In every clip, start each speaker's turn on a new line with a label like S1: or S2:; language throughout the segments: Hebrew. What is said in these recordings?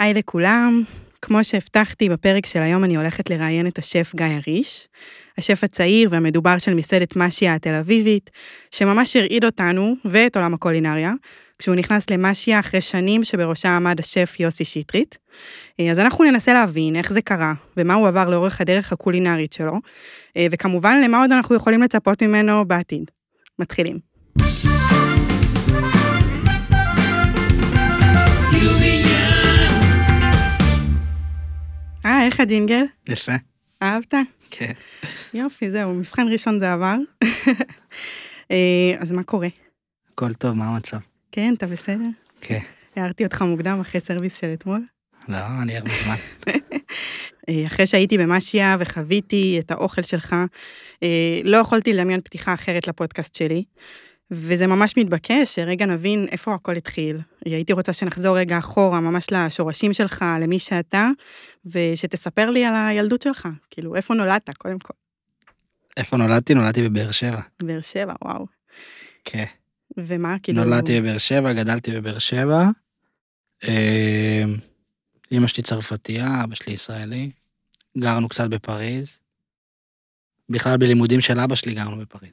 S1: היי לכולם, כמו שהבטחתי, בפרק של היום אני הולכת לראיין את השף גיא הריש, השף הצעיר והמדובר של מסעדת משיה התל אביבית, שממש הרעיד אותנו ואת עולם הקולינריה, כשהוא נכנס למשיה אחרי שנים שבראשה עמד השף יוסי שטרית. אה, אז אנחנו ננסה להבין איך זה קרה, ומה הוא עבר לאורך הדרך הקולינרית שלו, אה, וכמובן למה עוד אנחנו יכולים לצפות ממנו בעתיד. מתחילים. אה, איך הג'ינגל?
S2: יפה.
S1: אהבת?
S2: כן.
S1: יופי, זהו, מבחן ראשון זה עבר. אה, אז מה קורה?
S2: הכל טוב, מה המצב?
S1: כן, אתה בסדר?
S2: כן.
S1: הערתי אותך מוקדם אחרי סרוויס של אתמול? אה,
S2: לא, אני הרבה זמן.
S1: אחרי שהייתי במשיה וחוויתי את האוכל שלך, לא יכולתי לדמיין פתיחה אחרת לפודקאסט שלי. וזה ממש מתבקש שרגע נבין איפה הכל התחיל. אה, הייתי רוצה שנחזור רגע אחורה, ממש לשורשים שלך, למי שאתה, ושתספר לי על הילדות שלך. כאילו, איפה נולדת, קודם כל.
S2: איפה נולדתי? נולדתי בבאר שבע.
S1: באר שבע, וואו.
S2: כן.
S1: ומה, כאילו...
S2: נולדתי בבאר שבע, גדלתי בבאר שבע. אה, אמא שלי צרפתייה, אבא שלי ישראלי. גרנו קצת בפריז. בכלל בלימודים של אבא שלי גרנו בפריז.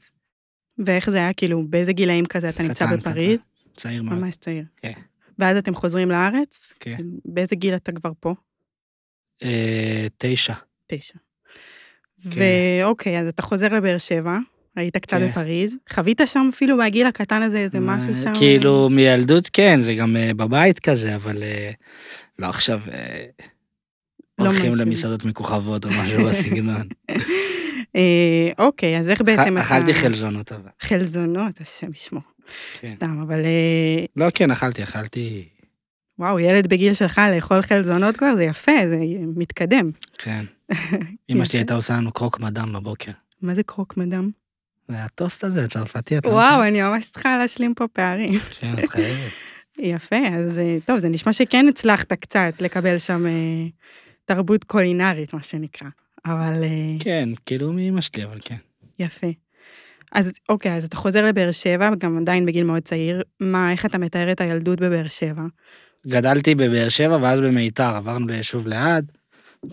S1: ואיך זה היה, כאילו, באיזה גילאים כזה אתה נמצא
S2: קטן,
S1: בפריז?
S2: קטן. צעיר מאוד.
S1: ממש צעיר.
S2: כן.
S1: ואז אתם חוזרים לארץ?
S2: כן.
S1: באיזה גיל אתה כבר פה?
S2: אה, תשע.
S1: תשע.
S2: כן.
S1: ואוקיי, אז אתה חוזר לבאר שבע, היית קצת
S2: כן.
S1: בפריז, חווית שם אפילו בגיל הקטן הזה איזה משהו שם? אה,
S2: כאילו, מילדות כן, זה גם אה, בבית כזה, אבל אה, לא עכשיו אה,
S1: לא
S2: הולכים
S1: משהו.
S2: למסעדות מכוכבות או משהו בסגנון.
S1: אה, אוקיי, אז איך בעצם אתה...
S2: אכלתי חלזונות אבל.
S1: חלזונות, השם ישמור.
S2: כן.
S1: סתם, אבל אה,
S2: לא, כן, אכלתי, אכלתי,
S1: וואו, ילד בגיל שלך לאכול חלזונות כבר, זה יפה, זה מתקדם.
S2: כן. אמא שלי הייתה עושה לנו קרוק מדם בבוקר.
S1: מה זה קרוק מדם?
S2: והטוסט הזה, הצרפתי, את לא...
S1: וואו, אני ממש צריכה להשלים פה פערים.
S2: מבינה? כן, את חייבת.
S1: יפה, אז אה, טוב, זה נשמע שכן הצלחת קצת לקבל שם אה, תרבות קולינרית, מה שנקרא. אבל אה,
S2: כן, כאילו מאמא שלי, אבל כן.
S1: יפה. אז אוקיי, אז אתה חוזר לבאר שבע, גם עדיין בגיל מאוד צעיר. מה, איך אתה מתאר את הילדות בבאר שבע?
S2: גדלתי בבאר שבע, ואז במיתר, עברנו ליישוב ליד.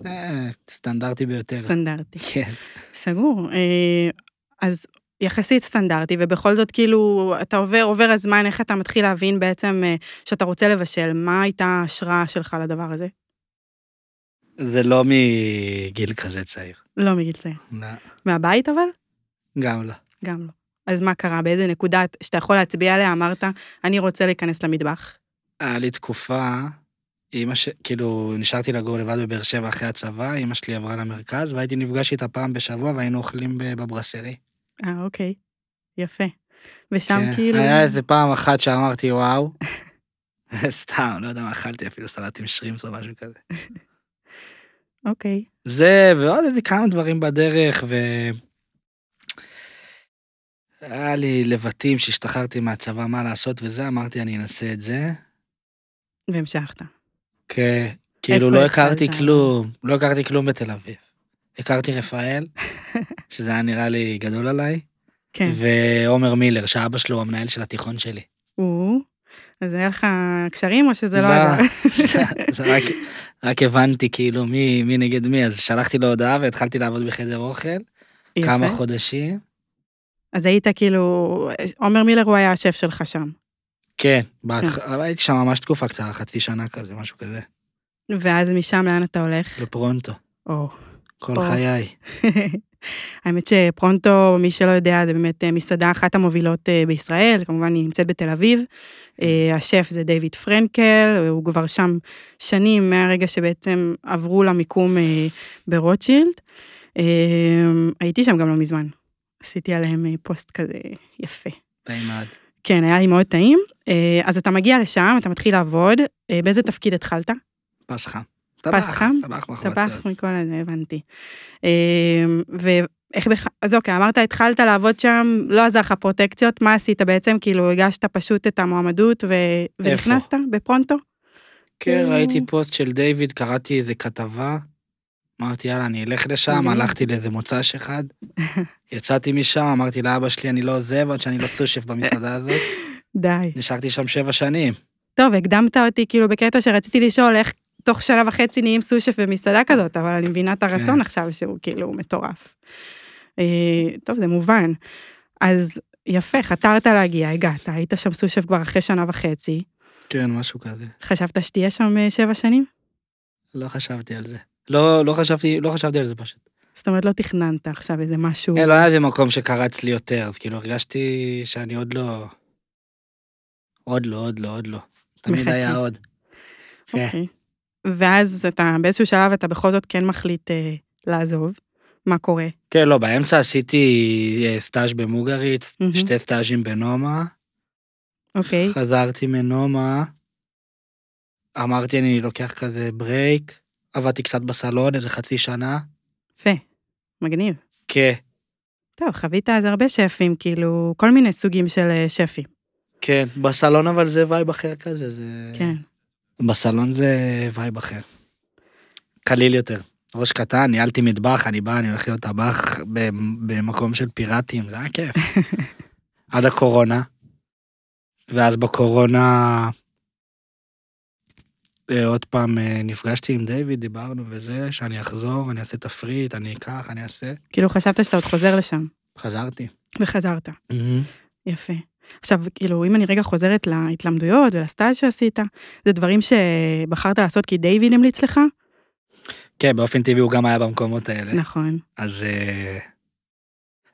S2: אה, סטנדרטי ביותר.
S1: סטנדרטי.
S2: כן.
S1: סגור. אה, אז יחסית סטנדרטי, ובכל זאת, כאילו, אתה עובר, עובר הזמן, איך אתה מתחיל להבין בעצם אה, שאתה רוצה לבשל, מה הייתה ההשראה שלך לדבר הזה?
S2: זה לא מגיל כזה צעיר.
S1: לא מגיל צעיר.
S2: לא,
S1: מהבית אבל?
S2: גם לא.
S1: גם לא. אז מה קרה? באיזה נקודה שאתה יכול להצביע עליה אמרת, אני רוצה להיכנס למטבח.
S2: היה לי תקופה, אמא ש... כאילו, נשארתי לגור לבד בבאר שבע אחרי הצבא, אמא שלי עברה למרכז, והייתי נפגש איתה פעם בשבוע, והיינו אוכלים ב- בברסרי.
S1: אה, אוקיי. יפה. ושם
S2: כן,
S1: כאילו...
S2: היה איזה פעם אחת שאמרתי, וואו. סתם, לא יודע מה אכלתי, אפילו סלט עם שרימפס או משהו כזה.
S1: אוקיי.
S2: זה, ועוד איזה כמה דברים בדרך, ו... היה לי לבטים שהשתחררתי מהצבא, מה לעשות וזה, אמרתי, אני אנסה את זה.
S1: והמשכת.
S2: כ... כאילו, לא
S1: התחלת?
S2: הכרתי כלום, לא הכרתי כלום בתל אביב. הכרתי רפאל, שזה היה נראה לי גדול עליי,
S1: כן.
S2: ועומר מילר, שאבא שלו הוא המנהל של התיכון שלי.
S1: או. אז היה לך קשרים או שזה לא עזר?
S2: אז רק, רק הבנתי כאילו מי, מי נגד מי, אז שלחתי לו הודעה והתחלתי לעבוד בחדר אוכל,
S1: יפה.
S2: כמה חודשים.
S1: אז היית כאילו... עומר מילר הוא היה השף שלך שם.
S2: כן, בהתח... אבל הייתי שם ממש תקופה קצרה, חצי שנה כזה, משהו כזה,
S1: ואז משם לאן אתה הולך?
S2: לפרונטו,
S1: או.
S2: כל
S1: או.
S2: חיי.
S1: האמת שפרונטו, מי שלא יודע, זה באמת אה, מסעדה אחת המובילות אה, בישראל, כמובן היא נמצאת בתל אביב. אה, השף זה דיוויד פרנקל, הוא כבר שם שנים מהרגע שבעצם עברו למיקום אה, ברוטשילד. אה, הייתי שם גם לא מזמן, עשיתי עליהם אה, פוסט כזה יפה.
S2: טעים מאוד.
S1: כן, היה לי מאוד טעים. אה, אז אתה מגיע לשם, אתה מתחיל לעבוד, אה, באיזה תפקיד התחלת?
S2: פס חם.
S1: פס חם?
S2: טבח מחבטות.
S1: טבח מכל הזה, הבנתי. אמ, ואיך בכלל, אז אוקיי, אמרת, התחלת לעבוד שם, לא עזר לך פרוטקציות, מה עשית בעצם? כאילו, הגשת פשוט את המועמדות ו... ונכנסת בפרונטו?
S2: כן,
S1: כאילו-
S2: ראיתי פוסט של דיוויד, קראתי איזה כתבה, אמרתי, יאללה, אני אלך לשם,
S1: מדהים.
S2: הלכתי לאיזה מוצ"ש אחד, יצאתי משם, אמרתי לאבא שלי, אני לא עוזב עד שאני לא סושף במסעדה הזאת,
S1: די.
S2: נשארתי שם שבע שנים.
S1: טוב, הקדמת אותי כאילו בקטע שרציתי לשאול איך תוך שנה וחצי נהיים סושף במסעדה כזאת, אבל אני מבינה את הרצון
S2: כן.
S1: עכשיו שהוא כאילו מטורף. אה, טוב, זה מובן. אז יפה, חתרת להגיע, הגעת, היית שם סושף כבר אחרי שנה וחצי.
S2: כן, משהו כזה.
S1: חשבת שתהיה שם אה, שבע שנים?
S2: לא חשבתי על זה. לא, לא חשבתי, לא חשבתי על זה פשוט.
S1: זאת אומרת, לא תכננת עכשיו איזה משהו...
S2: אין, לא היה איזה מקום שקרץ לי יותר, אז כאילו הרגשתי שאני עוד לא... עוד לא, עוד לא, עוד לא. תמיד
S1: מחכה.
S2: היה עוד. כן.
S1: אוקיי. ואז אתה, באיזשהו שלב אתה בכל זאת כן מחליט אה, לעזוב. מה קורה?
S2: כן, לא, באמצע עשיתי אה, סטאז' במוגריץ,
S1: מהמם.
S2: שתי סטאז'ים בנומה,
S1: אוקיי.
S2: חזרתי מנומה, אמרתי אני לוקח כזה ברייק, עבדתי קצת בסלון איזה חצי שנה,
S1: יפה. מגניב.
S2: כן,
S1: טוב, חווית אז הרבה שפים, כאילו, כל מיני סוגים של אה, שפים.
S2: כן, בסלון אבל זה וייב אחר כזה, זה...
S1: כן.
S2: בסלון זה וייב אחר. קליל יותר. ראש קטן, ניהלתי מטבח, אני בא, אני הולך להיות טבח במ- במקום של פיראטים, זה היה כיף. עד הקורונה. ואז בקורונה... אה, עוד פעם אה, נפגשתי עם דיוויד, דיברנו וזה, שאני אחזור, אני אעשה תפריט, אני אקח, אני אעשה.
S1: כאילו, חשבת שאתה עוד חוזר לשם,
S2: חזרתי.
S1: וחזרת. יפה. עכשיו, כאילו, אם אני רגע חוזרת להתלמדויות ולסטאז' שעשית, זה דברים שבחרת לעשות כי דיוויד המליץ לך?
S2: כן, באופן טבעי הוא גם היה במקומות האלה.
S1: נכון.
S2: אז, אה,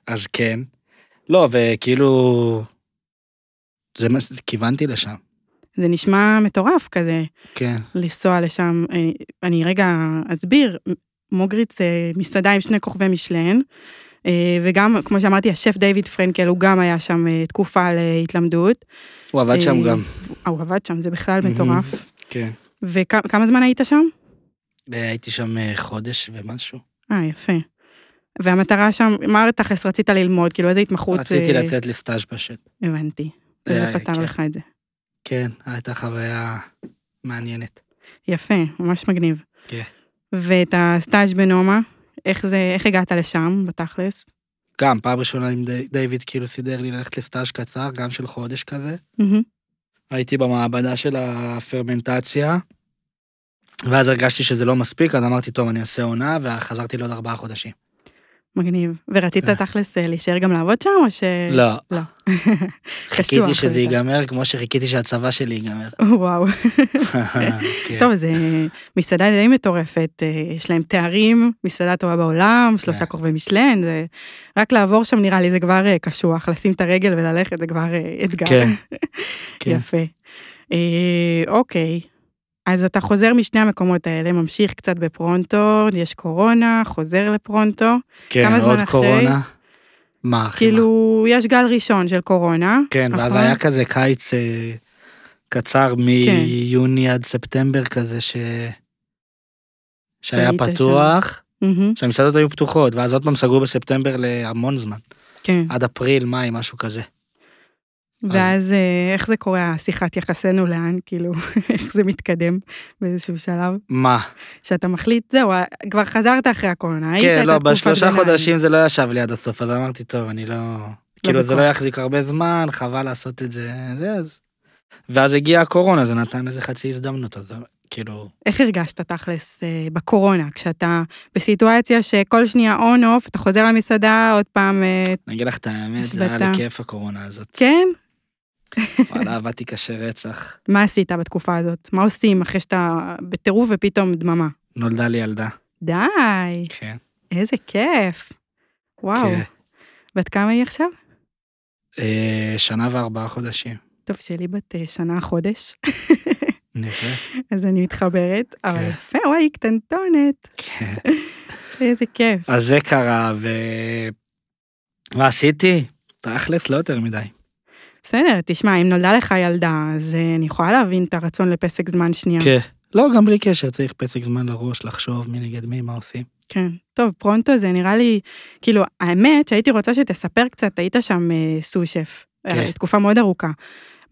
S2: אז כן. לא, וכאילו, זה מה, ש- כיוונתי לשם.
S1: זה נשמע מטורף כזה,
S2: כן.
S1: לנסוע לשם. אה, אני רגע אסביר, מוגריץ אה, מסעדה עם שני כוכבי משלן, אה, וגם, כמו שאמרתי, השף דיוויד פרנקל, הוא גם היה שם אה, תקופה להתלמדות.
S2: הוא עבד שם
S1: אה,
S2: גם.
S1: אה, הוא עבד שם, זה בכלל
S2: מהמם.
S1: מטורף.
S2: כן.
S1: וכמה זמן היית שם?
S2: אה, הייתי שם אה, חודש ומשהו.
S1: אה, יפה. והמטרה שם, מה תכלס רצית ללמוד? כאילו, איזה התמחות...
S2: רציתי
S1: אה,
S2: לצאת לסטאז' פשוט.
S1: הבנתי. וזה
S2: אה,
S1: פתר
S2: כן.
S1: לך את זה.
S2: כן, הייתה חוויה מעניינת.
S1: יפה, ממש מגניב.
S2: כן.
S1: ואת הסטאז' בנומה, איך זה, איך הגעת לשם, בתכלס?
S2: גם, פעם ראשונה עם די- דיוויד כאילו סידר לי ללכת לסטאז' קצר, גם של חודש כזה.
S1: מהמם.
S2: הייתי במעבדה של הפרמנטציה, ואז הרגשתי שזה לא מספיק, אז אמרתי, טוב, אני אעשה עונה, וחזרתי לעוד ארבעה חודשים.
S1: מגניב. ורצית
S2: כן.
S1: תכלס אה, להישאר גם לעבוד שם, או ש...
S2: לא.
S1: לא.
S2: חיכיתי שזה
S1: הייתה.
S2: ייגמר כמו שחיכיתי שהצבא שלי ייגמר.
S1: וואו.
S2: כן.
S1: טוב, זה מסעדה די מטורפת, אה, יש להם תארים, מסעדה טובה בעולם, שלושה
S2: כן.
S1: כוכבי משלן, זה... רק לעבור שם נראה לי זה כבר אה, קשוח, לשים את הרגל וללכת זה כבר אה, אתגר.
S2: כן. כן.
S1: יפה. אה, אוקיי. אז אתה חוזר משני המקומות האלה, ממשיך קצת בפרונטו, יש קורונה, חוזר לפרונטו.
S2: כן,
S1: כמה זמן
S2: עוד
S1: אחרי?
S2: קורונה. מה, אחי? מה?
S1: כאילו, יש גל ראשון של קורונה.
S2: כן, ואז
S1: נכון? כן.
S2: היה כזה קיץ אה, קצר מיוני עד ספטמבר כזה, ש... שהיה
S1: שהיית
S2: פתוח,
S1: מהמם,
S2: שהמסעדות היו פתוחות, ואז עוד פעם סגרו בספטמבר להמון זמן,
S1: כן.
S2: עד אפריל, מאי, משהו כזה.
S1: ואז אה, איך זה קורה, השיחת יחסינו לאן, כאילו, איך זה מתקדם באיזשהו שלב?
S2: מה?
S1: שאתה מחליט, זהו, אה, כבר חזרת אחרי הקורונה, היית
S2: כן,
S1: את
S2: לא,
S1: התקופת
S2: בשלושה
S1: ביניים.
S2: חודשים זה לא ישב לי עד הסוף, אז אמרתי, טוב, אני לא... כאילו, זה לא
S1: בכוח."
S2: יחזיק הרבה זמן, חבל לעשות את זה, זה, אז... ואז הגיעה הקורונה, זה נתן איזה חצי הזדמנות, אז כאילו...
S1: איך הרגשת תכלס אה, בקורונה, כשאתה בסיטואציה שכל שנייה און אוף, אתה חוזר למסעדה, עוד פעם, אה,
S2: אני אגיד לך את האמת, זה היה
S1: השבתה.
S2: לי כיף הקורונה הזאת.
S1: כן?
S2: וואלה, עבדתי קשה רצח.
S1: מה עשית בתקופה הזאת? מה עושים אחרי שאתה בטירוף ופתאום דממה?
S2: נולדה לי ילדה.
S1: די,
S2: כן.
S1: איזה כיף. וואו,
S2: כן.
S1: בת כמה היא עכשיו?
S2: אה, שנה וארבעה חודשים.
S1: טוב, שלי בת אה, שנה חודש,
S2: נראה.
S1: אז אני מתחברת, אבל
S2: כן.
S1: יפה, וואי, היא קטנטונת,
S2: כן.
S1: איזה כיף.
S2: אז זה קרה, ו... מה עשיתי? תכלס, לא יותר מדי.
S1: בסדר, תשמע, אם נולדה לך ילדה, אז אה, אני יכולה להבין את הרצון לפסק זמן שנייה.
S2: כן. לא, גם בלי קשר, צריך פסק זמן לראש, לחשוב מי נגד מי, מה עושים.
S1: כן. טוב, פרונטו זה נראה לי, כאילו, האמת שהייתי רוצה שתספר קצת, היית שם אה, סו-שף,
S2: כן.
S1: אה, תקופה מאוד ארוכה.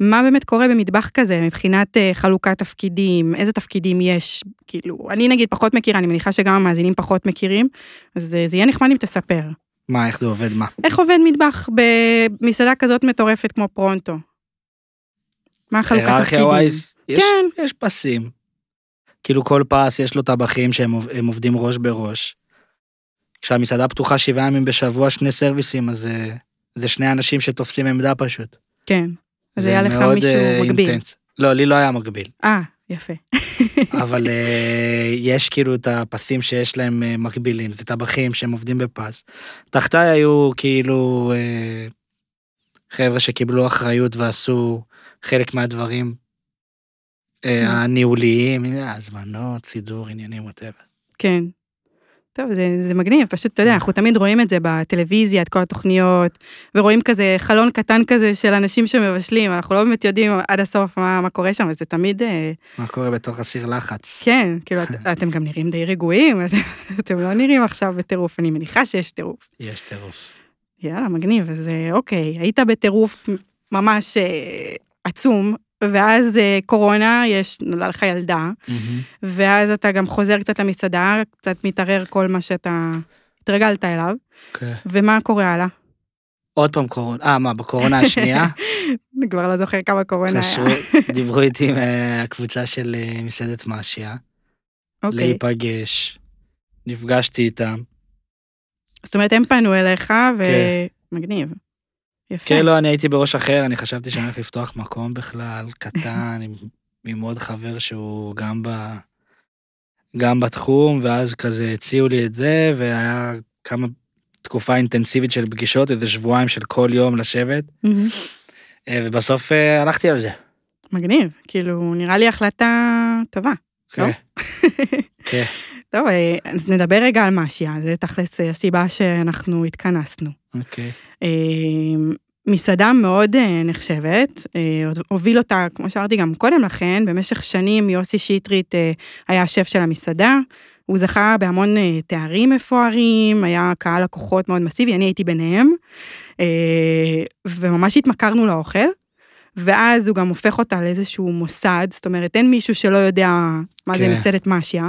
S1: מה באמת קורה במטבח כזה מבחינת אה, חלוקת תפקידים, איזה תפקידים יש, כאילו, אני נגיד פחות מכירה, אני מניחה שגם המאזינים פחות מכירים, אז אה, זה יהיה נחמד אם תספר.
S2: מה, איך זה עובד, מה?
S1: איך עובד מטבח במסעדה כזאת מטורפת כמו פרונטו? מה החלוקת
S2: היררכיה
S1: תפקידים?
S2: ווייז, יש,
S1: כן.
S2: יש פסים. כאילו כל פס יש לו טבחים שהם עוב- הם עובדים ראש בראש. כשהמסעדה פתוחה שבעה ימים בשבוע, שני סרוויסים, אז אה, זה שני אנשים שתופסים עמדה פשוט.
S1: כן. אז היה לך
S2: מאוד,
S1: מישהו
S2: אה,
S1: מקביל.
S2: אינטנס. לא, לי לא היה מקביל.
S1: אה, יפה.
S2: אבל אה, יש כאילו את הפסים שיש להם אה, מקבילים, זה טבחים שהם עובדים בפס. תחתיי היו כאילו אה, חבר'ה שקיבלו אחריות ועשו חלק מהדברים אה,
S1: שמע.
S2: הניהוליים, הנה, הזמנות, סידור, עניינים, וואטאבר.
S1: כן. טוב, זה, זה מגניב, פשוט,
S2: אה.
S1: אתה יודע, אנחנו תמיד רואים את זה בטלוויזיה, את כל התוכניות, ורואים כזה חלון קטן כזה של אנשים שמבשלים, אנחנו לא באמת יודעים עד הסוף מה, מה קורה שם, וזה תמיד, אה,
S2: מה קורה בתוך הסיר לחץ?
S1: כן, כאילו, את, אתם גם נראים די רגועים, אתם- אתם לא נראים עכשיו בטירוף, אני מניחה שיש טירוף.
S2: יש טירוף.
S1: יאללה, מגניב, אז אה, אוקיי, היית בטירוף ממש אה, עצום, ואז אה, קורונה, יש, נולדה לך ילדה, ואז אתה גם חוזר קצת למסעדה, קצת מתערער כל מה שאתה התרגלת אליו,
S2: אוקיי.
S1: ומה קורה הלאה?
S2: עוד פעם קורונה, אה מה, בקורונה השנייה?
S1: אני כבר לא זוכר כמה קורונה
S2: התקשרו,
S1: היה.
S2: דיברו איתי עם אה, הקבוצה של אה, מסעדת משיה,
S1: אוקיי.
S2: להיפגש, נפגשתי איתם.
S1: זאת אומרת, הם פנו אליך,
S2: כן.
S1: ומגניב. יפה.
S2: כן, לא, אני הייתי בראש אחר, אני חשבתי שאני הולך לפתוח מקום בכלל, קטן, עם, עם עוד חבר שהוא גם, ב, גם בתחום, ואז כזה הציעו לי את זה, והיה כמה תקופה אינטנסיבית של פגישות, איזה שבועיים של כל יום לשבת,
S1: מהמם.
S2: אה, ובסוף אה, הלכתי על זה.
S1: מגניב, כאילו, נראה לי החלטה טובה. לא?
S2: כן. כן.
S1: טוב, אה, אז נדבר רגע על משיה, זה תכלס אה, הסיבה שאנחנו התכנסנו.
S2: אוקיי.
S1: אה, מסעדה מאוד אה, נחשבת, אה, הוביל אותה, כמו שאמרתי גם קודם לכן, במשך שנים יוסי שטרית אה, היה השף של המסעדה. הוא זכה בהמון אה, תארים מפוארים, היה קהל לקוחות מאוד מסיבי, אני הייתי ביניהם, אה, וממש התמכרנו לאוכל. ואז הוא גם הופך אותה לאיזשהו מוסד, זאת אומרת, אין מישהו שלא יודע מה זה
S2: כן.
S1: מסעדת משיה.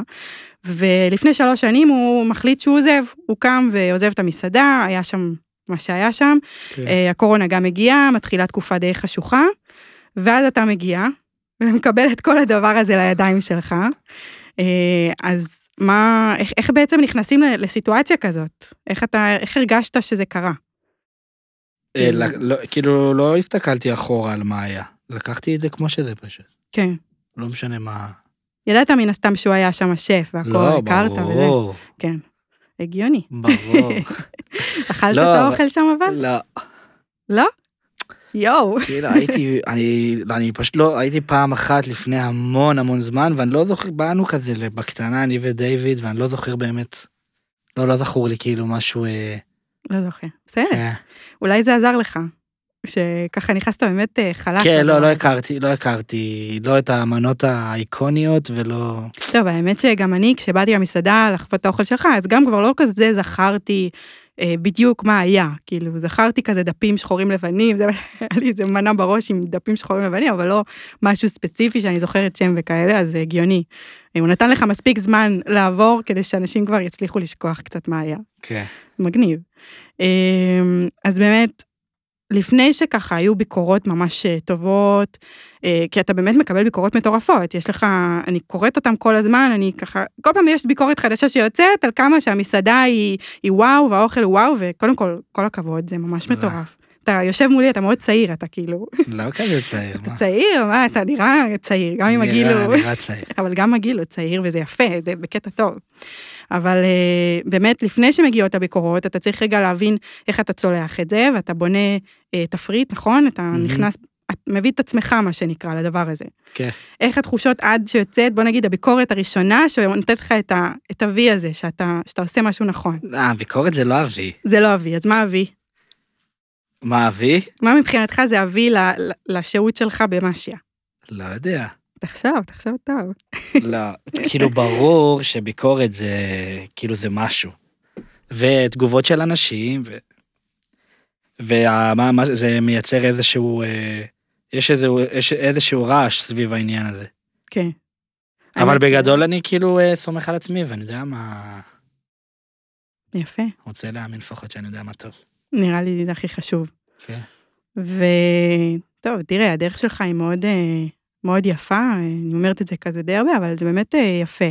S1: ולפני שלוש שנים הוא מחליט שהוא עוזב, הוא קם ועוזב את המסעדה, היה שם מה שהיה שם,
S2: כן.
S1: אה, הקורונה גם הגיעה, מתחילה תקופה די חשוכה, ואז אתה מגיע ומקבל את כל הדבר הזה לידיים שלך. אה, אז מה, איך, איך בעצם נכנסים ל- לסיטואציה כזאת? איך אתה, איך הרגשת שזה קרה?
S2: אה, לא- לא- כאילו, לא הסתכלתי אחורה על מה היה. לקחתי את זה כמו שזה פשוט.
S1: כן.
S2: לא משנה מה...
S1: ידעת מן הסתם שהוא היה שם השף והכל,
S2: לא,
S1: הכרת וזה.
S2: ברור.
S1: כן. הגיוני.
S2: ברור.
S1: אכלת
S2: לא,
S1: את
S2: אבל-
S1: האוכל שם אבל?
S2: לא,
S1: יואו.
S2: כאילו הייתי, אני, לא, אני פשוט לא, הייתי פעם אחת לפני המון המון זמן, ואני לא זוכר, באנו כזה בקטנה, אני ודיוויד, ואני לא זוכר באמת, לא, לא זכור לי כאילו משהו, אה,
S1: לא זוכר. בסדר.
S2: אה,
S1: אולי זה עזר לך. שככה נכנסת באמת אה, חלק.
S2: כן, לא,
S1: לדבר
S2: לא
S1: הזה.
S2: הכרתי, לא הכרתי, לא את האמנות האיקוניות ולא,
S1: טוב, האמת שגם אני, כשבאתי למסעדה לחוות את האוכל שלך, אז גם כבר לא כזה זכרתי אה, בדיוק מה היה. כאילו, זכרתי כזה דפים שחורים לבנים, זה היה לי איזה מנה בראש עם דפים שחורים לבנים, אבל לא משהו ספציפי שאני זוכרת שם וכאלה, אז זה הגיוני. אה, הוא נתן לך מספיק זמן לעבור, כדי שאנשים כבר יצליחו לשכוח קצת מה היה.
S2: כן,
S1: מגניב. אמ, אז באמת, לפני שככה היו ביקורות ממש אה, טובות, אה, כי אתה באמת מקבל ביקורות מטורפות, יש לך, אני קוראת אותן כל הזמן, אני ככה, כל פעם יש ביקורת חדשה שיוצאת על כמה שהמסעדה היא, היא וואו והאוכל הוא וואו, וקודם כל, כל הכבוד, זה ממש
S2: תודה.
S1: מטורף. אתה יושב מולי, אתה מאוד צעיר, אתה כאילו,
S2: לא כזה צעיר,
S1: אתה
S2: מה?
S1: צעיר, מה, אתה נראה צעיר, גם עם
S2: נראה-
S1: הגיל הוא...
S2: נראה צעיר,
S1: אבל גם מגעיל, הוא צעיר וזה יפה, זה בקטע טוב. אבל אה, באמת, לפני שמגיעות הביקורות, אתה צריך רגע להבין איך אתה צולח את זה, ואתה בונה אה, תפריט, נכון? אתה
S2: מהמם.
S1: נכנס, את מביא את עצמך, מה שנקרא, לדבר הזה.
S2: כן.
S1: איך התחושות עד שיוצאת, בוא נגיד, הביקורת הראשונה שנותנת לך את ה- את ה-V הזה, שאתה, שאתה עושה משהו נכון.
S2: אה, ביקורת זה לא אבי.
S1: זה לא ה-V, אז מה ה-V?
S2: מה אבי?
S1: מה מבחינתך זה ה-V ל- ל- לשהות שלך במשיה?
S2: לא יודע.
S1: תחשוב, תחשוב טוב.
S2: לא, כאילו ברור שביקורת זה, כאילו זה משהו. ותגובות של אנשים, ו... ומה, מה, זה מייצר איזשהו, אה, יש איזשהו, יש איזשהו רעש סביב העניין הזה.
S1: כן.
S2: אבל
S1: האמת ש-
S2: בגדול אני כאילו אה, סומך על עצמי, ואני יודע מה,
S1: יפה.
S2: רוצה להאמין לפחות שאני יודע מה טוב.
S1: נראה לי זה הכי חשוב.
S2: כן.
S1: וטוב, תראה, הדרך שלך היא מאוד אה, מאוד יפה, אני אומרת את זה כזה די הרבה, אבל זה באמת אה, יפה.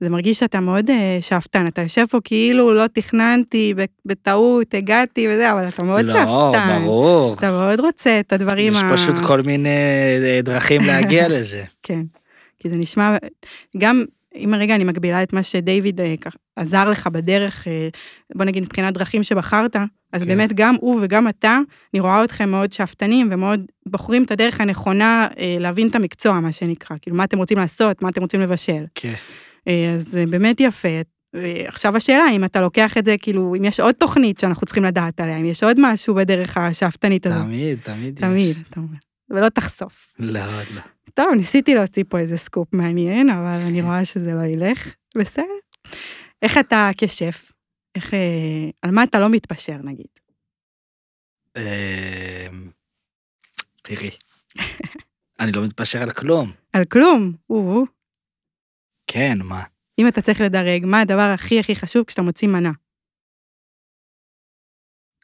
S1: זה מרגיש שאתה מאוד אה, שאפתן, אתה יושב פה כאילו לא תכננתי, ב- בטעות הגעתי וזה, אבל אתה מאוד
S2: לא,
S1: שאפתן.
S2: ברור.
S1: אתה מאוד רוצה את הדברים
S2: יש פשוט כל מיני אה, דרכים להגיע לזה.
S1: כן, כי זה נשמע, גם אם רגע אני מגבילה את מה שדיוויד אה, כך, עזר לך בדרך, אה, בוא נגיד מבחינת דרכים שבחרת, אז
S2: כן.
S1: באמת גם הוא וגם אתה, אני רואה אתכם מאוד שאפתנים ומאוד בוחרים את הדרך הנכונה אה, להבין את המקצוע, מה שנקרא, כאילו מה אתם רוצים לעשות, מה אתם רוצים לבשל.
S2: כן.
S1: אה, אז זה באמת יפה. אה, עכשיו השאלה אם אתה לוקח את זה, כאילו, אם יש עוד תוכנית שאנחנו צריכים לדעת עליה, אם יש עוד משהו בדרך השאפתנית הזאת.
S2: תמיד, תמיד יש.
S1: תמיד, אתה אומר. ולא תחשוף.
S2: לא, עוד לא.
S1: טוב, ניסיתי להוציא פה איזה סקופ מעניין, אבל אני
S2: כן.
S1: רואה שזה לא ילך. בסדר. איך אתה כשף? איך... אה, על מה אתה לא מתפשר, נגיד?
S2: אמ, תראי, אני לא מתפשר על כלום.
S1: על כלום. או,
S2: כן, מה?
S1: אם אתה צריך לדרג, מה הדבר הכי הכי חשוב כשאתה מוציא מנה?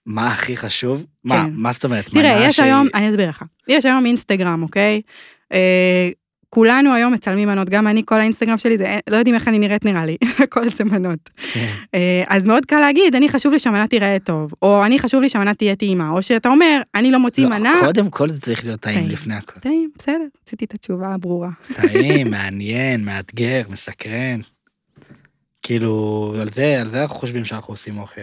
S2: מה הכי חשוב? מה, מה זאת אומרת?
S1: כן. תראה,
S2: מנה
S1: יש
S2: שהיא-
S1: היום, אני אסביר לך. יש היום אינסטגרם, אוקיי? אה, כולנו היום מצלמים מנות, גם אני, כל האינסטגרם שלי, זה, לא יודעים איך אני נראית נראה לי, הכל זה מנות.
S2: כן,
S1: אה, אז מאוד קל להגיד, אני חשוב לי שהמנה תיראה טוב, או אני חשוב לי שהמנה תהיה טעימה, או שאתה אומר, אני לא מוציא
S2: לא,
S1: מנה,
S2: קודם כל זה צריך להיות טעים
S1: טעים.
S2: לפני הכל.
S1: טעים, בסדר, רציתי את התשובה הברורה.
S2: טעים, מעניין, מאתגר, מסקרן. כאילו, על זה, על זה אנחנו חושבים שאנחנו עושים אוכל.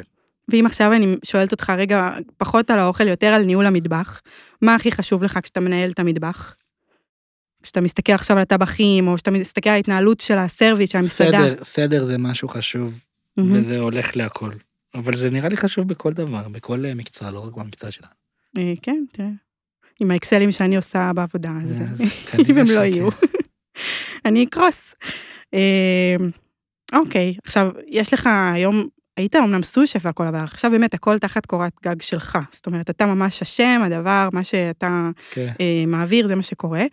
S1: ואם עכשיו אני שואלת אותך רגע, פחות על האוכל, יותר על ניהול המטבח, מה הכי חשוב לך כשאתה מנהל את המטבח? כשאתה מסתכל עכשיו על הטבחים, או כשאתה מסתכל על ההתנהלות של הסרוויס, של המסעדה.
S2: סדר, סדר זה משהו חשוב,
S1: מהמם.
S2: וזה הולך להכל. אבל זה נראה לי חשוב בכל דבר, בכל אה, מקצוע, לא רק במקצוע שלנו.
S1: אה, כן, תראה. עם האקסלים שאני עושה בעבודה, אז
S2: אז
S1: אם
S2: כנראה
S1: הם לא
S2: שכן.
S1: יהיו. אני אקרוס. אה, אוקיי, עכשיו, יש לך היום, היית אמנם סו-שף והכל, אבל עכשיו באמת הכל תחת קורת גג שלך. זאת אומרת, אתה ממש השם, הדבר, מה שאתה
S2: כן.
S1: אה, מעביר, זה מה שקורה.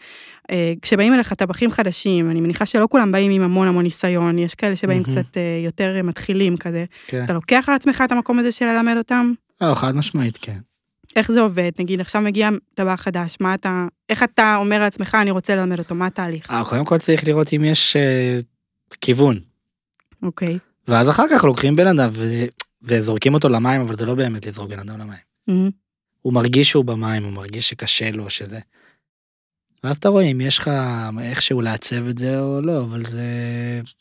S1: אה, כשבאים אליך טבחים חדשים, אני מניחה שלא כולם באים עם המון המון ניסיון, יש כאלה שבאים
S2: מהמם.
S1: קצת אה, יותר אה, מתחילים כזה.
S2: כן.
S1: אתה לוקח על עצמך את המקום הזה של ללמד אותם?
S2: לא, חד משמעית, כן.
S1: איך זה עובד? נגיד, עכשיו מגיע טבח חדש, מה אתה, איך אתה אומר לעצמך, אני רוצה ללמד אותו, מה התהליך?
S2: אה, קודם כל צריך לראות אם יש אה, כיוון.
S1: אוקיי.
S2: ואז אחר כך לוקחים בן אדם וזורקים אותו למים, אבל זה לא באמת לזרוק בן אדם למים.
S1: מהמם.
S2: הוא מרגיש שהוא במים, הוא מרגיש שקשה לו, שזה... ואז אתה רואה אם יש לך איכשהו לעצב את זה או לא, אבל זה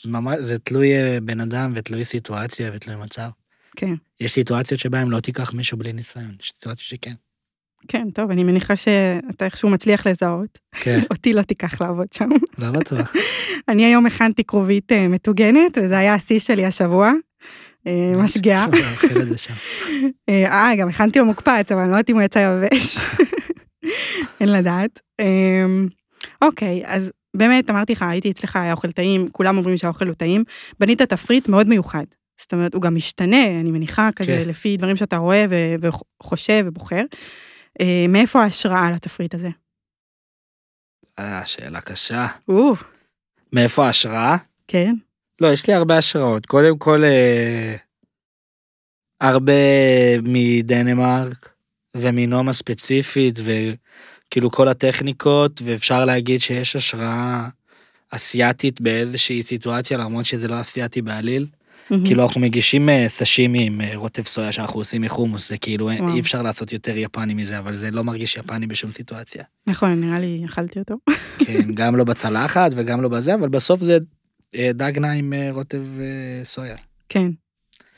S2: ממש, זה תלוי אה, בן אדם ותלוי סיטואציה ותלוי מצב.
S1: כן.
S2: יש סיטואציות שבהן לא תיקח מישהו בלי ניסיון, יש סיטואציות שכן.
S1: כן, טוב, אני מניחה שאתה איכשהו מצליח לזהות.
S2: כן,
S1: אותי לא תיקח לעבוד שם.
S2: לא בטוח.
S1: אני היום הכנתי כרובית אה, מטוגנת, וזה היה השיא שלי השבוע. אה, משגעה.
S2: אוכל את זה שם.
S1: אה, אה, גם הכנתי לו מוקפץ, אבל אני לא יודעת אם הוא יצא יבש. אין לדעת. אמ, אוקיי, אז באמת, אמרתי לך, הייתי אצלך, היה אוכל טעים, כולם אומרים שהאוכל הוא טעים. בנית תפריט מאוד מיוחד. זאת אומרת, הוא גם משתנה, אני מניחה, כזה
S2: כן.
S1: לפי דברים שאתה רואה ו- וחושב ובוחר. אה, מאיפה ההשראה לתפריט הזה?
S2: אה, שאלה קשה.
S1: או,
S2: מאיפה ההשראה?
S1: כן.
S2: לא, יש לי הרבה השראות. קודם כל, אה, הרבה מדנמרק ומנומה ספציפית, וכאילו כל הטכניקות, ואפשר להגיד שיש השראה אסייתית באיזושהי סיטואציה, למרות שזה לא אסייתי בעליל.
S1: מהמם.
S2: כאילו אנחנו מגישים אה, סשימי עם אה, רוטב סויה שאנחנו עושים מחומוס, זה כאילו אין-
S1: וואו.
S2: אי אפשר לעשות יותר יפני מזה, אבל זה לא מרגיש יפני בשום סיטואציה.
S1: נכון, נראה לי אכלתי אותו.
S2: כן, גם לא בצלחת וגם לא בזה, אבל בסוף זה אה, דגנה עם אה, רוטב אה, סויה.
S1: כן.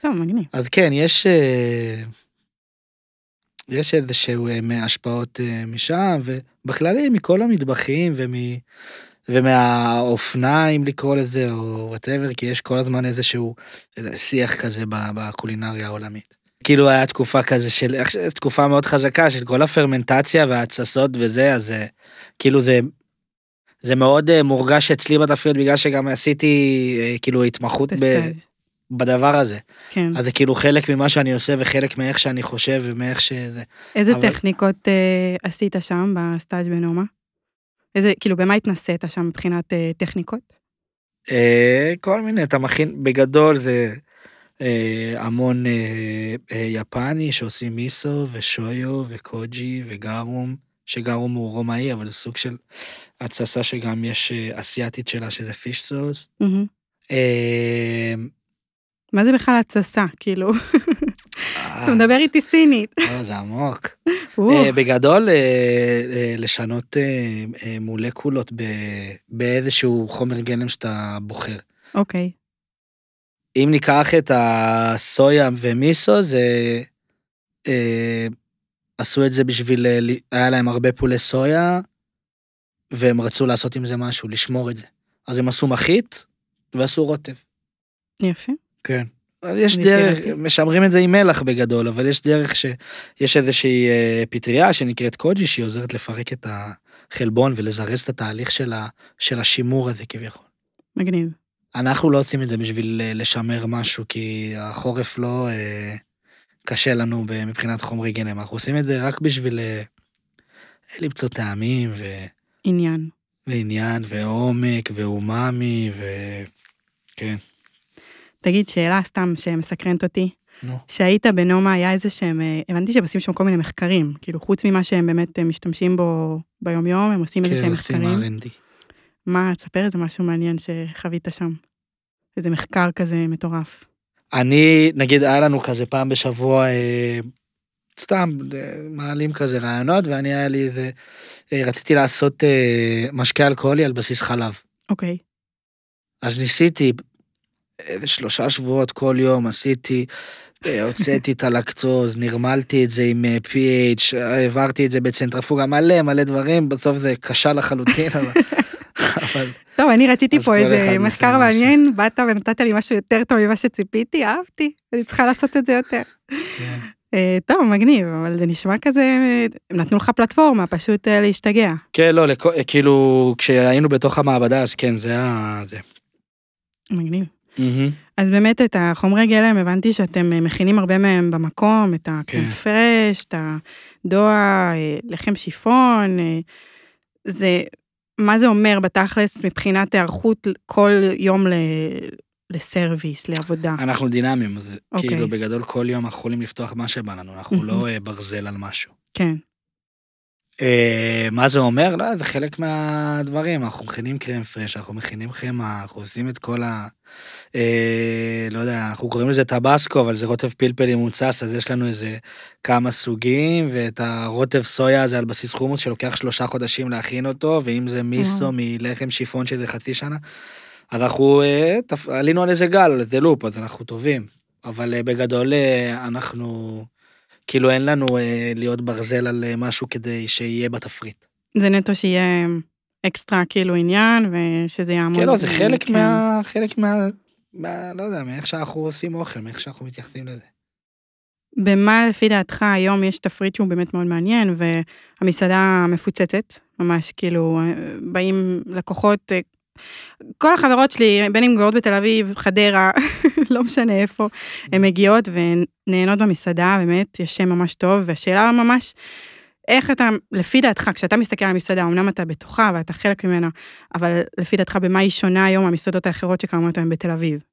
S1: טוב, מגניב.
S2: אז כן, יש... אה, יש איזשהו אה, השפעות אה, משם, ובכללי מכל המטבחים ומ... ומהאופנה, אם לקרוא לזה, או וואטאבר, כי יש כל הזמן איזשהו אה, שיח כזה ב- בקולינריה העולמית. כאילו היה תקופה כזה של, עכשיו, זו תקופה מאוד חזקה של כל הפרמנטציה וההתססות וזה, אז אה, כאילו זה, זה מאוד אה, מורגש אצלי בתפריט, בגלל שגם עשיתי אה, כאילו התמחות ב,
S1: בסטאז'.
S2: בדבר הזה.
S1: כן.
S2: אז זה כאילו חלק ממה שאני עושה וחלק מאיך שאני חושב ומאיך שזה.
S1: איזה
S2: אבל-
S1: טכניקות אה, עשית שם בסטאז' בנומה? איזה, כאילו, במה התנסית שם מבחינת אה, טכניקות?
S2: אה, כל מיני, אתה מכין, בגדול זה אה, המון אה, אה, יפני שעושים מיסו ושויו וקוג'י וגרום, שגרו הוא רומאי, אבל זה סוג של התססה שגם יש אה, אסיאתית שלה, שזה פיש סוס.
S1: מהמם.
S2: אה,
S1: מה זה בכלל התססה, כאילו?
S2: אה,
S1: אתה מדבר איתי סינית.
S2: לא, זה עמוק.
S1: או,
S2: אה, בגדול, אה, אה, לשנות אה, אה, מולקולות ב- באיזשהו חומר גלם שאתה בוחר.
S1: אוקיי.
S2: אם ניקח את הסויה ומיסו, זה... אה, עשו את זה בשביל... אה, ל- היה להם הרבה פולי סויה, והם רצו לעשות עם זה משהו, לשמור את זה. אז הם עשו מחית ועשו רוטב.
S1: יפה.
S2: כן. אז יש
S1: ויצירתי.
S2: דרך, משמרים את זה עם מלח בגדול, אבל יש דרך שיש איזושהי אה, פטריה שנקראת קוג'י, שהיא עוזרת לפרק את החלבון ולזרז את התהליך של, ה, של השימור הזה כביכול.
S1: מגניב.
S2: אנחנו לא עושים את זה בשביל אה, לשמר משהו, כי החורף לא אה, קשה לנו ב- מבחינת חומרי גלם, אנחנו עושים את זה רק בשביל אה, למצוא טעמים ו,
S1: עניין.
S2: ועניין ועומק ואומאמי ו...
S1: תגיד, שאלה סתם שמסקרנת אותי.
S2: נו.
S1: שהיית בנומה, היה איזה שהם, אה, הבנתי שהם עושים שם כל מיני מחקרים. כאילו, חוץ ממה שהם באמת אה, משתמשים בו ביומיום, הם עושים איזה
S2: כן,
S1: שהם מחקרים.
S2: R&D.
S1: מה, תספר איזה משהו מעניין שחווית שם. איזה מחקר כזה מטורף.
S2: אני, נגיד, היה לנו כזה פעם בשבוע, אה, סתם אה, מעלים כזה רעיונות, ואני היה לי איזה, אה, רציתי לעשות אה, משקה אלכוהולי על בסיס חלב.
S1: אוקיי.
S2: אז ניסיתי איזה שלושה שבועות כל יום, עשיתי, אה, הוצאתי את הלקטוז, נרמלתי את זה עם אה, pH, העברתי את זה בצנטרפוגה, מלא מלא דברים, בסוף זה קשה לחלוטין, אבל... אבל
S1: טוב, אני רציתי
S2: אז
S1: פה
S2: כל
S1: איזה
S2: אחד
S1: מחקר
S2: עושה משהו.
S1: מעניין, באת ונתת לי משהו יותר טוב ממה שציפיתי, אהבתי, אני צריכה לעשות את זה יותר.
S2: כן.
S1: אה, טוב, מגניב, אבל זה נשמע כזה, אה, הם נתנו לך פלטפורמה, פשוט אה, להשתגע.
S2: כן, לא, לכו- כאילו, כשהיינו בתוך המעבדה, אז כן, זה היה... זה.
S1: מגניב. אז באמת את החומרי גלם, הבנתי שאתם אה, מכינים הרבה מהם במקום, את
S2: כן.
S1: הקונפרש, את הדוע, אה, לחם שיפון, אה, זה, מה זה אומר בתכלס מבחינת היערכות כל יום ל... לסרוויס, לעבודה.
S2: אנחנו דינאמיים, אז okay.
S1: אוקיי.
S2: כאילו בגדול כל יום אנחנו יכולים לפתוח מה שבא לנו, אנחנו לא אה, ברזל על משהו.
S1: כן,
S2: אה, מה זה אומר? לא, זה חלק מהדברים, אנחנו מכינים קרם פרש, אנחנו מכינים חמאה, אנחנו עושים את כל ה... אה, לא יודע, אנחנו קוראים לזה טבסקו, אבל זה רוטב פלפל עם מוצס, אז יש לנו איזה כמה סוגים, ואת הרוטב סויה הזה על בסיס חומוס שלוקח שלושה חודשים להכין אותו, ואם זה מיסו
S1: וואו.
S2: מלחם שיפון שזה חצי שנה, אז אנחנו אה, תפ... עלינו על איזה גל, על איזה לופ, אז אנחנו טובים. אבל אה, בגדול אה, אנחנו, כאילו אין לנו אה, להיות ברזל על אה, משהו כדי שיהיה בתפריט.
S1: זה נטו שיהיה אה, אקסטרה כאילו עניין, ושזה יעמוד.
S2: כן, לא, זה
S1: ב-
S2: חלק
S1: כן.
S2: מה... חלק מה... מה... לא יודע, מאיך שאנחנו עושים אוכל, מאיך שאנחנו מתייחסים לזה.
S1: במה לפי דעתך היום יש תפריט שהוא באמת מאוד מעניין, והמסעדה מפוצצת, ממש כאילו, אה, באים לקוחות, אה, כל החברות שלי, בין אם גרות בתל אביב, חדרה, לא משנה איפה, הן מגיעות ונהנות במסעדה, באמת, יש שם ממש טוב, והשאלה ממש, איך אתה, לפי דעתך, כשאתה מסתכל על המסעדה, אמנם אתה בתוכה ואתה חלק ממנה, אבל לפי דעתך, במה היא שונה היום מהמסעדות האחרות שקיימות היום בתל אביב?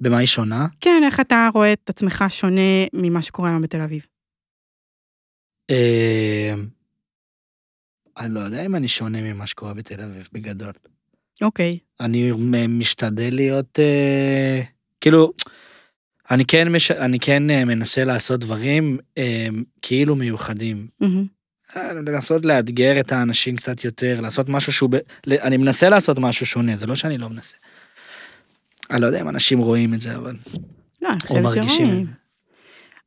S2: במה היא שונה?
S1: כן, איך אתה רואה את עצמך שונה ממה שקורה היום בתל אביב?
S2: אה, אני לא יודע אם אני שונה ממה שקורה בתל אביב, בגדול.
S1: אוקיי.
S2: אני מ- משתדל להיות, אה, כאילו, אני כן, מש, אני כן אה, מנסה לעשות דברים אה, כאילו מיוחדים.
S1: מהמם.
S2: אה, לנסות לאתגר את האנשים קצת יותר, לעשות משהו שהוא, ב, ל- אני מנסה לעשות משהו שונה, זה לא שאני לא מנסה. אני לא יודע אם אנשים רואים את זה, אבל...
S1: לא, אני
S2: או
S1: חושבת
S2: מרגישים
S1: שרואים.
S2: את זה.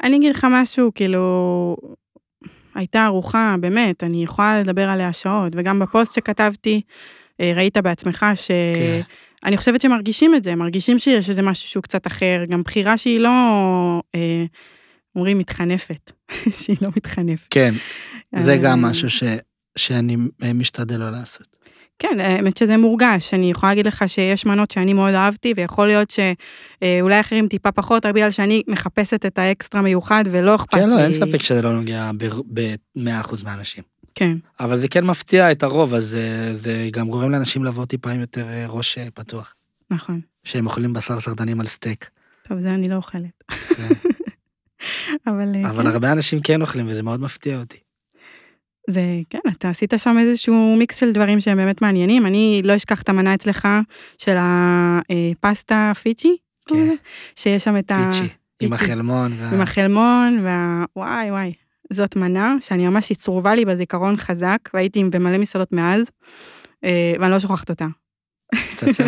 S1: אני אגיד לך משהו, כאילו, הייתה ארוחה, באמת, אני יכולה לדבר עליה שעות, וגם בפוסט שכתבתי, אה, ראית בעצמך ש...
S2: כן.
S1: אני חושבת שמרגישים את זה, מרגישים שיש איזה משהו שהוא קצת אחר, גם בחירה שהיא לא, אה, אומרים, מתחנפת, שהיא לא מתחנפת.
S2: כן, זה
S1: אה,
S2: גם משהו ש, שאני אה, משתדל לא לעשות.
S1: כן, האמת שזה מורגש. אני יכולה להגיד לך שיש מנות שאני מאוד אהבתי, ויכול להיות שאולי אחרים טיפה פחות, רק בגלל שאני מחפשת את האקסטרה מיוחד ולא אכפת לי.
S2: כן, לא, אין ספק שזה לא נוגע ב-100% מהאנשים.
S1: כן,
S2: אבל זה כן מפתיע את הרוב, אז זה, זה גם גורם לאנשים לבוא טיפה עם יותר אה, ראש אה, פתוח.
S1: נכון.
S2: שהם אוכלים בשר סרטנים על סטייק.
S1: טוב, זה אני לא אוכלת.
S2: כן.
S1: אבל... אה,
S2: אבל
S1: כן.
S2: הרבה אנשים כן אוכלים, וזה מאוד מפתיע אותי.
S1: זה, כן, אתה עשית שם איזשהו מיקס של דברים שהם באמת מעניינים. אני לא אשכח את המנה אצלך של הפסטה פיצ'י,
S2: כן,
S1: שיש שם את ה...
S2: פיצ'י, עם
S1: פיצ'י.
S2: החלמון.
S1: עם
S2: וה-
S1: החלמון, וה... וואי וואי. זאת מנה שאני ממש, היא צרובה לי בזיכרון חזק, והייתי עם- במלא מסעדות מאז, אה, ואני לא שוכחת אותה.
S2: פצצה.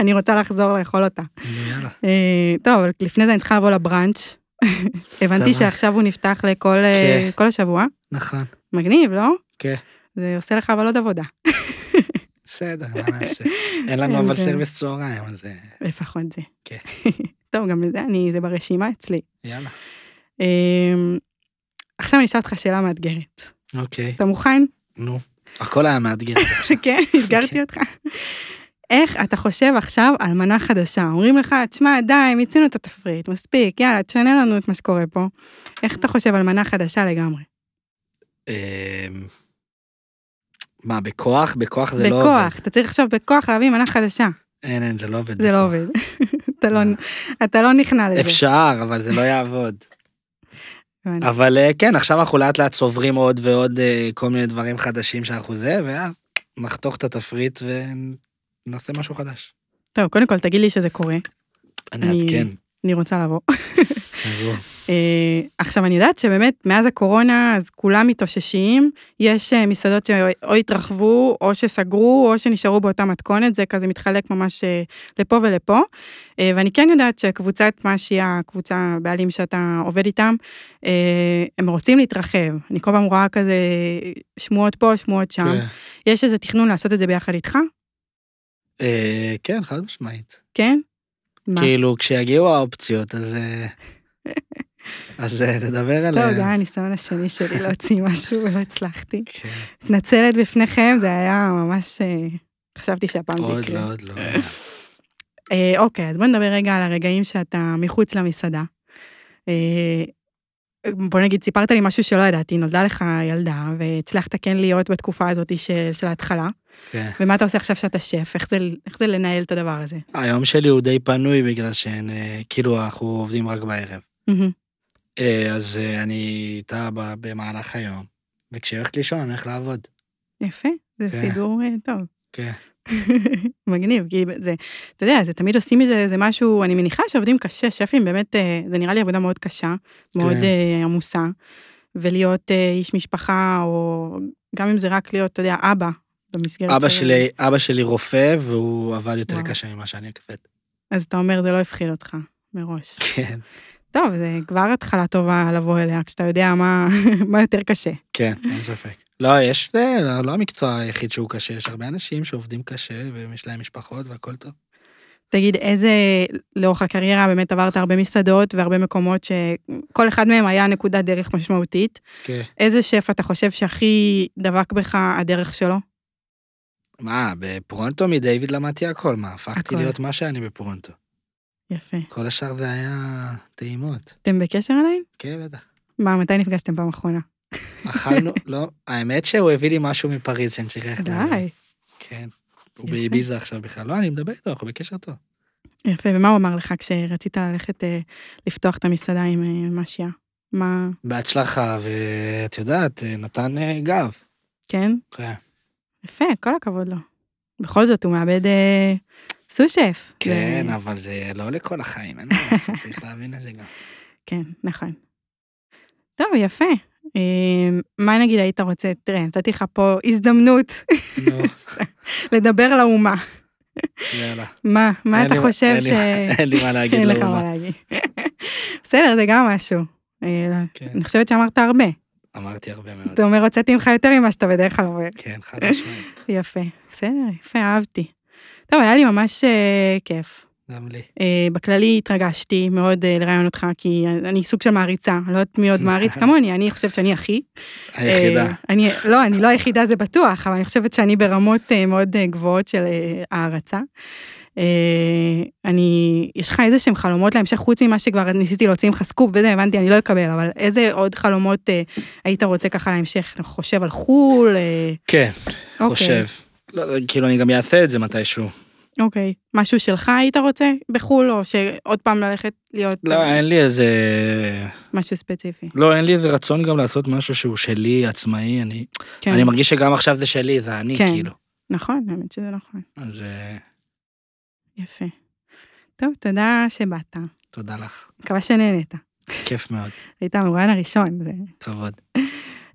S1: אני רוצה לחזור לאכול אותה.
S2: נו, יאללה.
S1: אה, טוב, אבל לפני זה אני צריכה לבוא לבראנץ'. הבנתי
S2: סבבה.
S1: שעכשיו הוא נפתח לכל אה, כל השבוע.
S2: נכון.
S1: מגניב, לא?
S2: כן.
S1: זה עושה לך אבל עוד עבודה.
S2: בסדר, מה נעשה? אין לנו
S1: אין, כן.
S2: אבל סרוויס צהריים, אז אה,
S1: לפחות זה.
S2: כן.
S1: טוב, גם לזה אני, זה ברשימה אצלי.
S2: יאללה.
S1: אמ, עכשיו אני אשאל אותך שאלה מאתגרת.
S2: אוקיי,
S1: אתה מוכן?
S2: נו. הכל היה מאתגר. עכשיו.
S1: כן, אתגרתי אותך. איך אתה חושב עכשיו על מנה חדשה? אומרים לך, תשמע, די, מיצינו את התפריט, מספיק, יאללה, תשנה לנו את מה שקורה פה. איך אתה חושב על מנה חדשה לגמרי?
S2: אמ, מה, בכוח? בכוח זה לא עובד.
S1: בכוח, אתה צריך עכשיו בכוח להביא מנה חדשה.
S2: אין, אין, זה לא עובד.
S1: זה לא
S2: בכוח. אה,
S1: עובד. אתה לא- אתה לא נכנע לזה.
S2: אפשר, אבל זה לא יעבוד.
S1: הבנתי.
S2: אבל אה, כן, עכשיו אנחנו לאט לאט צוברים עוד ועוד אה, כל מיני דברים חדשים שאנחנו זה, ואז נחתוך את התפריט ונעשה משהו חדש.
S1: טוב, קודם כל, תגיד לי שזה קורה,
S2: אני
S1: אני-
S2: אעדכן.
S1: אני רוצה לבוא.
S2: תראו.
S1: אה, עכשיו, אני יודעת שבאמת, מאז הקורונה, אז כולם מתאוששים. יש אה, מסעדות שאו התרחבו, או שסגרו, או שנשארו באותה מתכונת, זה כזה מתחלק ממש אה, לפה ולפה. אה, ואני כן יודעת שקבוצת משי, הקבוצה, הבעלים שאתה עובד איתם, אה, הם רוצים להתרחב. אני כל פעם רואה כזה שמועות פה, שמועות שם.
S2: כן.
S1: יש איזה תכנון לעשות את זה ביחד איתך?
S2: אה, כן, חד משמעית.
S1: כן? מה?
S2: כאילו, כשיגיעו האופציות, אז... אה, אז אה, נדבר
S1: טוב,
S2: עליהן.
S1: זה היה הניסיון השני שלי להוציא משהו ולא הצלחתי.
S2: כן.
S1: מתנצלת בפניכם, זה היה ממש... אה, חשבתי שהפעם זה
S2: עוד לא,
S1: יקרה.
S2: עוד לא.
S1: אה, אוקיי, אז בוא נדבר רגע על הרגעים שאתה מחוץ למסעדה. אה, בוא נגיד, סיפרת לי משהו שלא ידעתי, נולדה לך ילדה, והצלחת כן להיות בתקופה הזאת של, של ההתחלה.
S2: כן.
S1: ומה אתה עושה עכשיו שאתה שף? איך זה, איך זה לנהל את הדבר הזה?
S2: היום שלי הוא די פנוי בגלל שהן, אה, כאילו, אנחנו עובדים רק בערב.
S1: מהמם.
S2: אה, אז אה, אני איתה ב- במהלך היום, וכשהיא הולכת לישון אני הולך לעבוד.
S1: יפה, זה
S2: כן.
S1: סידור אה, טוב.
S2: כן.
S1: מגניב, כי זה, אתה יודע, זה תמיד עושים מזה, זה משהו, אני מניחה שעובדים קשה, שפים באמת, אה, זה נראה לי עבודה מאוד קשה, מאוד
S2: כן.
S1: אה, עמוסה, ולהיות אה, איש משפחה, או גם אם זה רק להיות, אתה יודע, אבא, במסגרת
S2: אבא
S1: של-
S2: שלי, אבא שלי רופא, והוא עבד יותר
S1: וואו.
S2: קשה ממה שאני עובד.
S1: אז אתה אומר, זה לא הפחיד אותך מראש.
S2: כן,
S1: טוב, זה כבר התחלה טובה לבוא אליה, כשאתה יודע מה, מה יותר קשה.
S2: כן, אין ספק. לא, יש, זה לא- לא המקצוע היחיד שהוא קשה, יש הרבה אנשים שעובדים קשה, ויש להם משפחות והכל טוב.
S1: תגיד, איזה, לאורך הקריירה באמת עברת הרבה מסעדות והרבה מקומות שכל אחד מהם היה נקודת דרך משמעותית.
S2: כן.
S1: איזה שף אתה חושב שהכי דבק בך הדרך שלו?
S2: מה, בפרונטו מדיוויד למדתי הכל, מה, הפכתי
S1: הכל.
S2: להיות מה שאני בפרונטו.
S1: יפה.
S2: כל השאר זה היה טעימות.
S1: אתם בקשר עדיין?
S2: כן, בטח.
S1: מה, מתי נפגשתם פעם אחרונה?
S2: אכלנו, לא, האמת שהוא הביא לי משהו מפריז שאני צריך ללכת לעבוד.
S1: די.
S2: כן. הוא
S1: יפה.
S2: באביזה עכשיו בכלל. לא, אני מדבר איתו, אנחנו בקשר טוב.
S1: יפה, ומה הוא אמר לך כשרצית ללכת אה, לפתוח את המסעדה עם אה, משיה? מה,
S2: בהצלחה, ואת יודעת, נתן אה, גב.
S1: כן?
S2: כן.
S1: יפה, כל הכבוד לו. בכל זאת, הוא מאבד אה, סו-שף. זה-
S2: כן, אבל זה לא לכל החיים, אין מה לעשות, צריך להבין את זה גם.
S1: כן, נכון. טוב, יפה. אה, מה נגיד היית רוצה, תראה, נתתי לך פה הזדמנות
S2: נו,
S1: לדבר לאומה.
S2: יאללה.
S1: מה, מה
S2: אין
S1: אתה
S2: לי-
S1: חושב
S2: אין לי-
S1: ש...
S2: אין לי מה להגיד לא
S1: אין לך
S2: לאומה.
S1: מה להגיד. בסדר, זה גם משהו. אה, לא.
S2: כן, אוקיי.
S1: אני חושבת שאמרת הרבה.
S2: אמרתי הרבה מאוד.
S1: אתה אומר, הוצאתי ממך יותר ממה שאתה בדרך כלל אומר.
S2: כן, חד משמעית.
S1: יפה, בסדר, יפה, אהבתי. טוב, היה לי ממש אה, כיף.
S2: גם לי.
S1: אה, בכללי התרגשתי מאוד אה, לראיין אותך, כי אני סוג של מעריצה, אני לא יודעת מי עוד מעריץ כמוני, אני חושבת שאני הכי.
S2: היחידה.
S1: אה, אני, לא, אני לא היחידה, זה בטוח, אבל אני חושבת שאני ברמות אה, מאוד אה, גבוהות של אה, הערצה. אה, אני, יש לך איזה שהם חלומות להמשך, חוץ ממה שכבר ניסיתי להוציא ממך סקופ, וזה הבנתי, אני לא אקבל, אבל איזה עוד חלומות אה, היית רוצה ככה להמשך? אתה חושב על חו"ל? אה,
S2: כן,
S1: אוקיי.
S2: לא, חושב. לא, כאילו, אני גם אעשה את זה מתישהו.
S1: אוקיי. משהו שלך היית רוצה בחו"ל, או שעוד פעם ללכת להיות
S2: לא, אין לי איזה...
S1: משהו ספציפי?
S2: לא, אין לי איזה רצון גם לעשות משהו שהוא שלי, עצמאי, אני...
S1: כן,
S2: אני מרגיש שגם עכשיו זה שלי, זה אני,
S1: כן.
S2: כאילו.
S1: נכון, האמת שזה נכון.
S2: אז אה,
S1: יפה. טוב, תודה שבאת.
S2: תודה לך,
S1: מקווה שנהנית.
S2: כיף מאוד,
S1: היית המרואיין הראשון. זה...
S2: כבוד.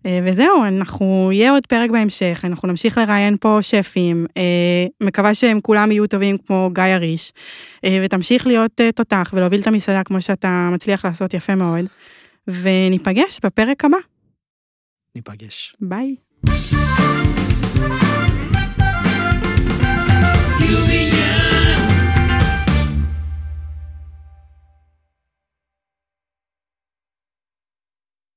S1: אה, וזהו, אנחנו, יהיה עוד פרק בהמשך, אנחנו נמשיך לראיין פה שפים. אה, מקווה שהם כולם יהיו טובים כמו גיא הריש, אה, ותמשיך להיות אה, תותח ולהוביל את המסעדה כמו שאתה מצליח לעשות יפה מאוד. וניפגש בפרק הבא,
S2: ניפגש.
S1: ביי.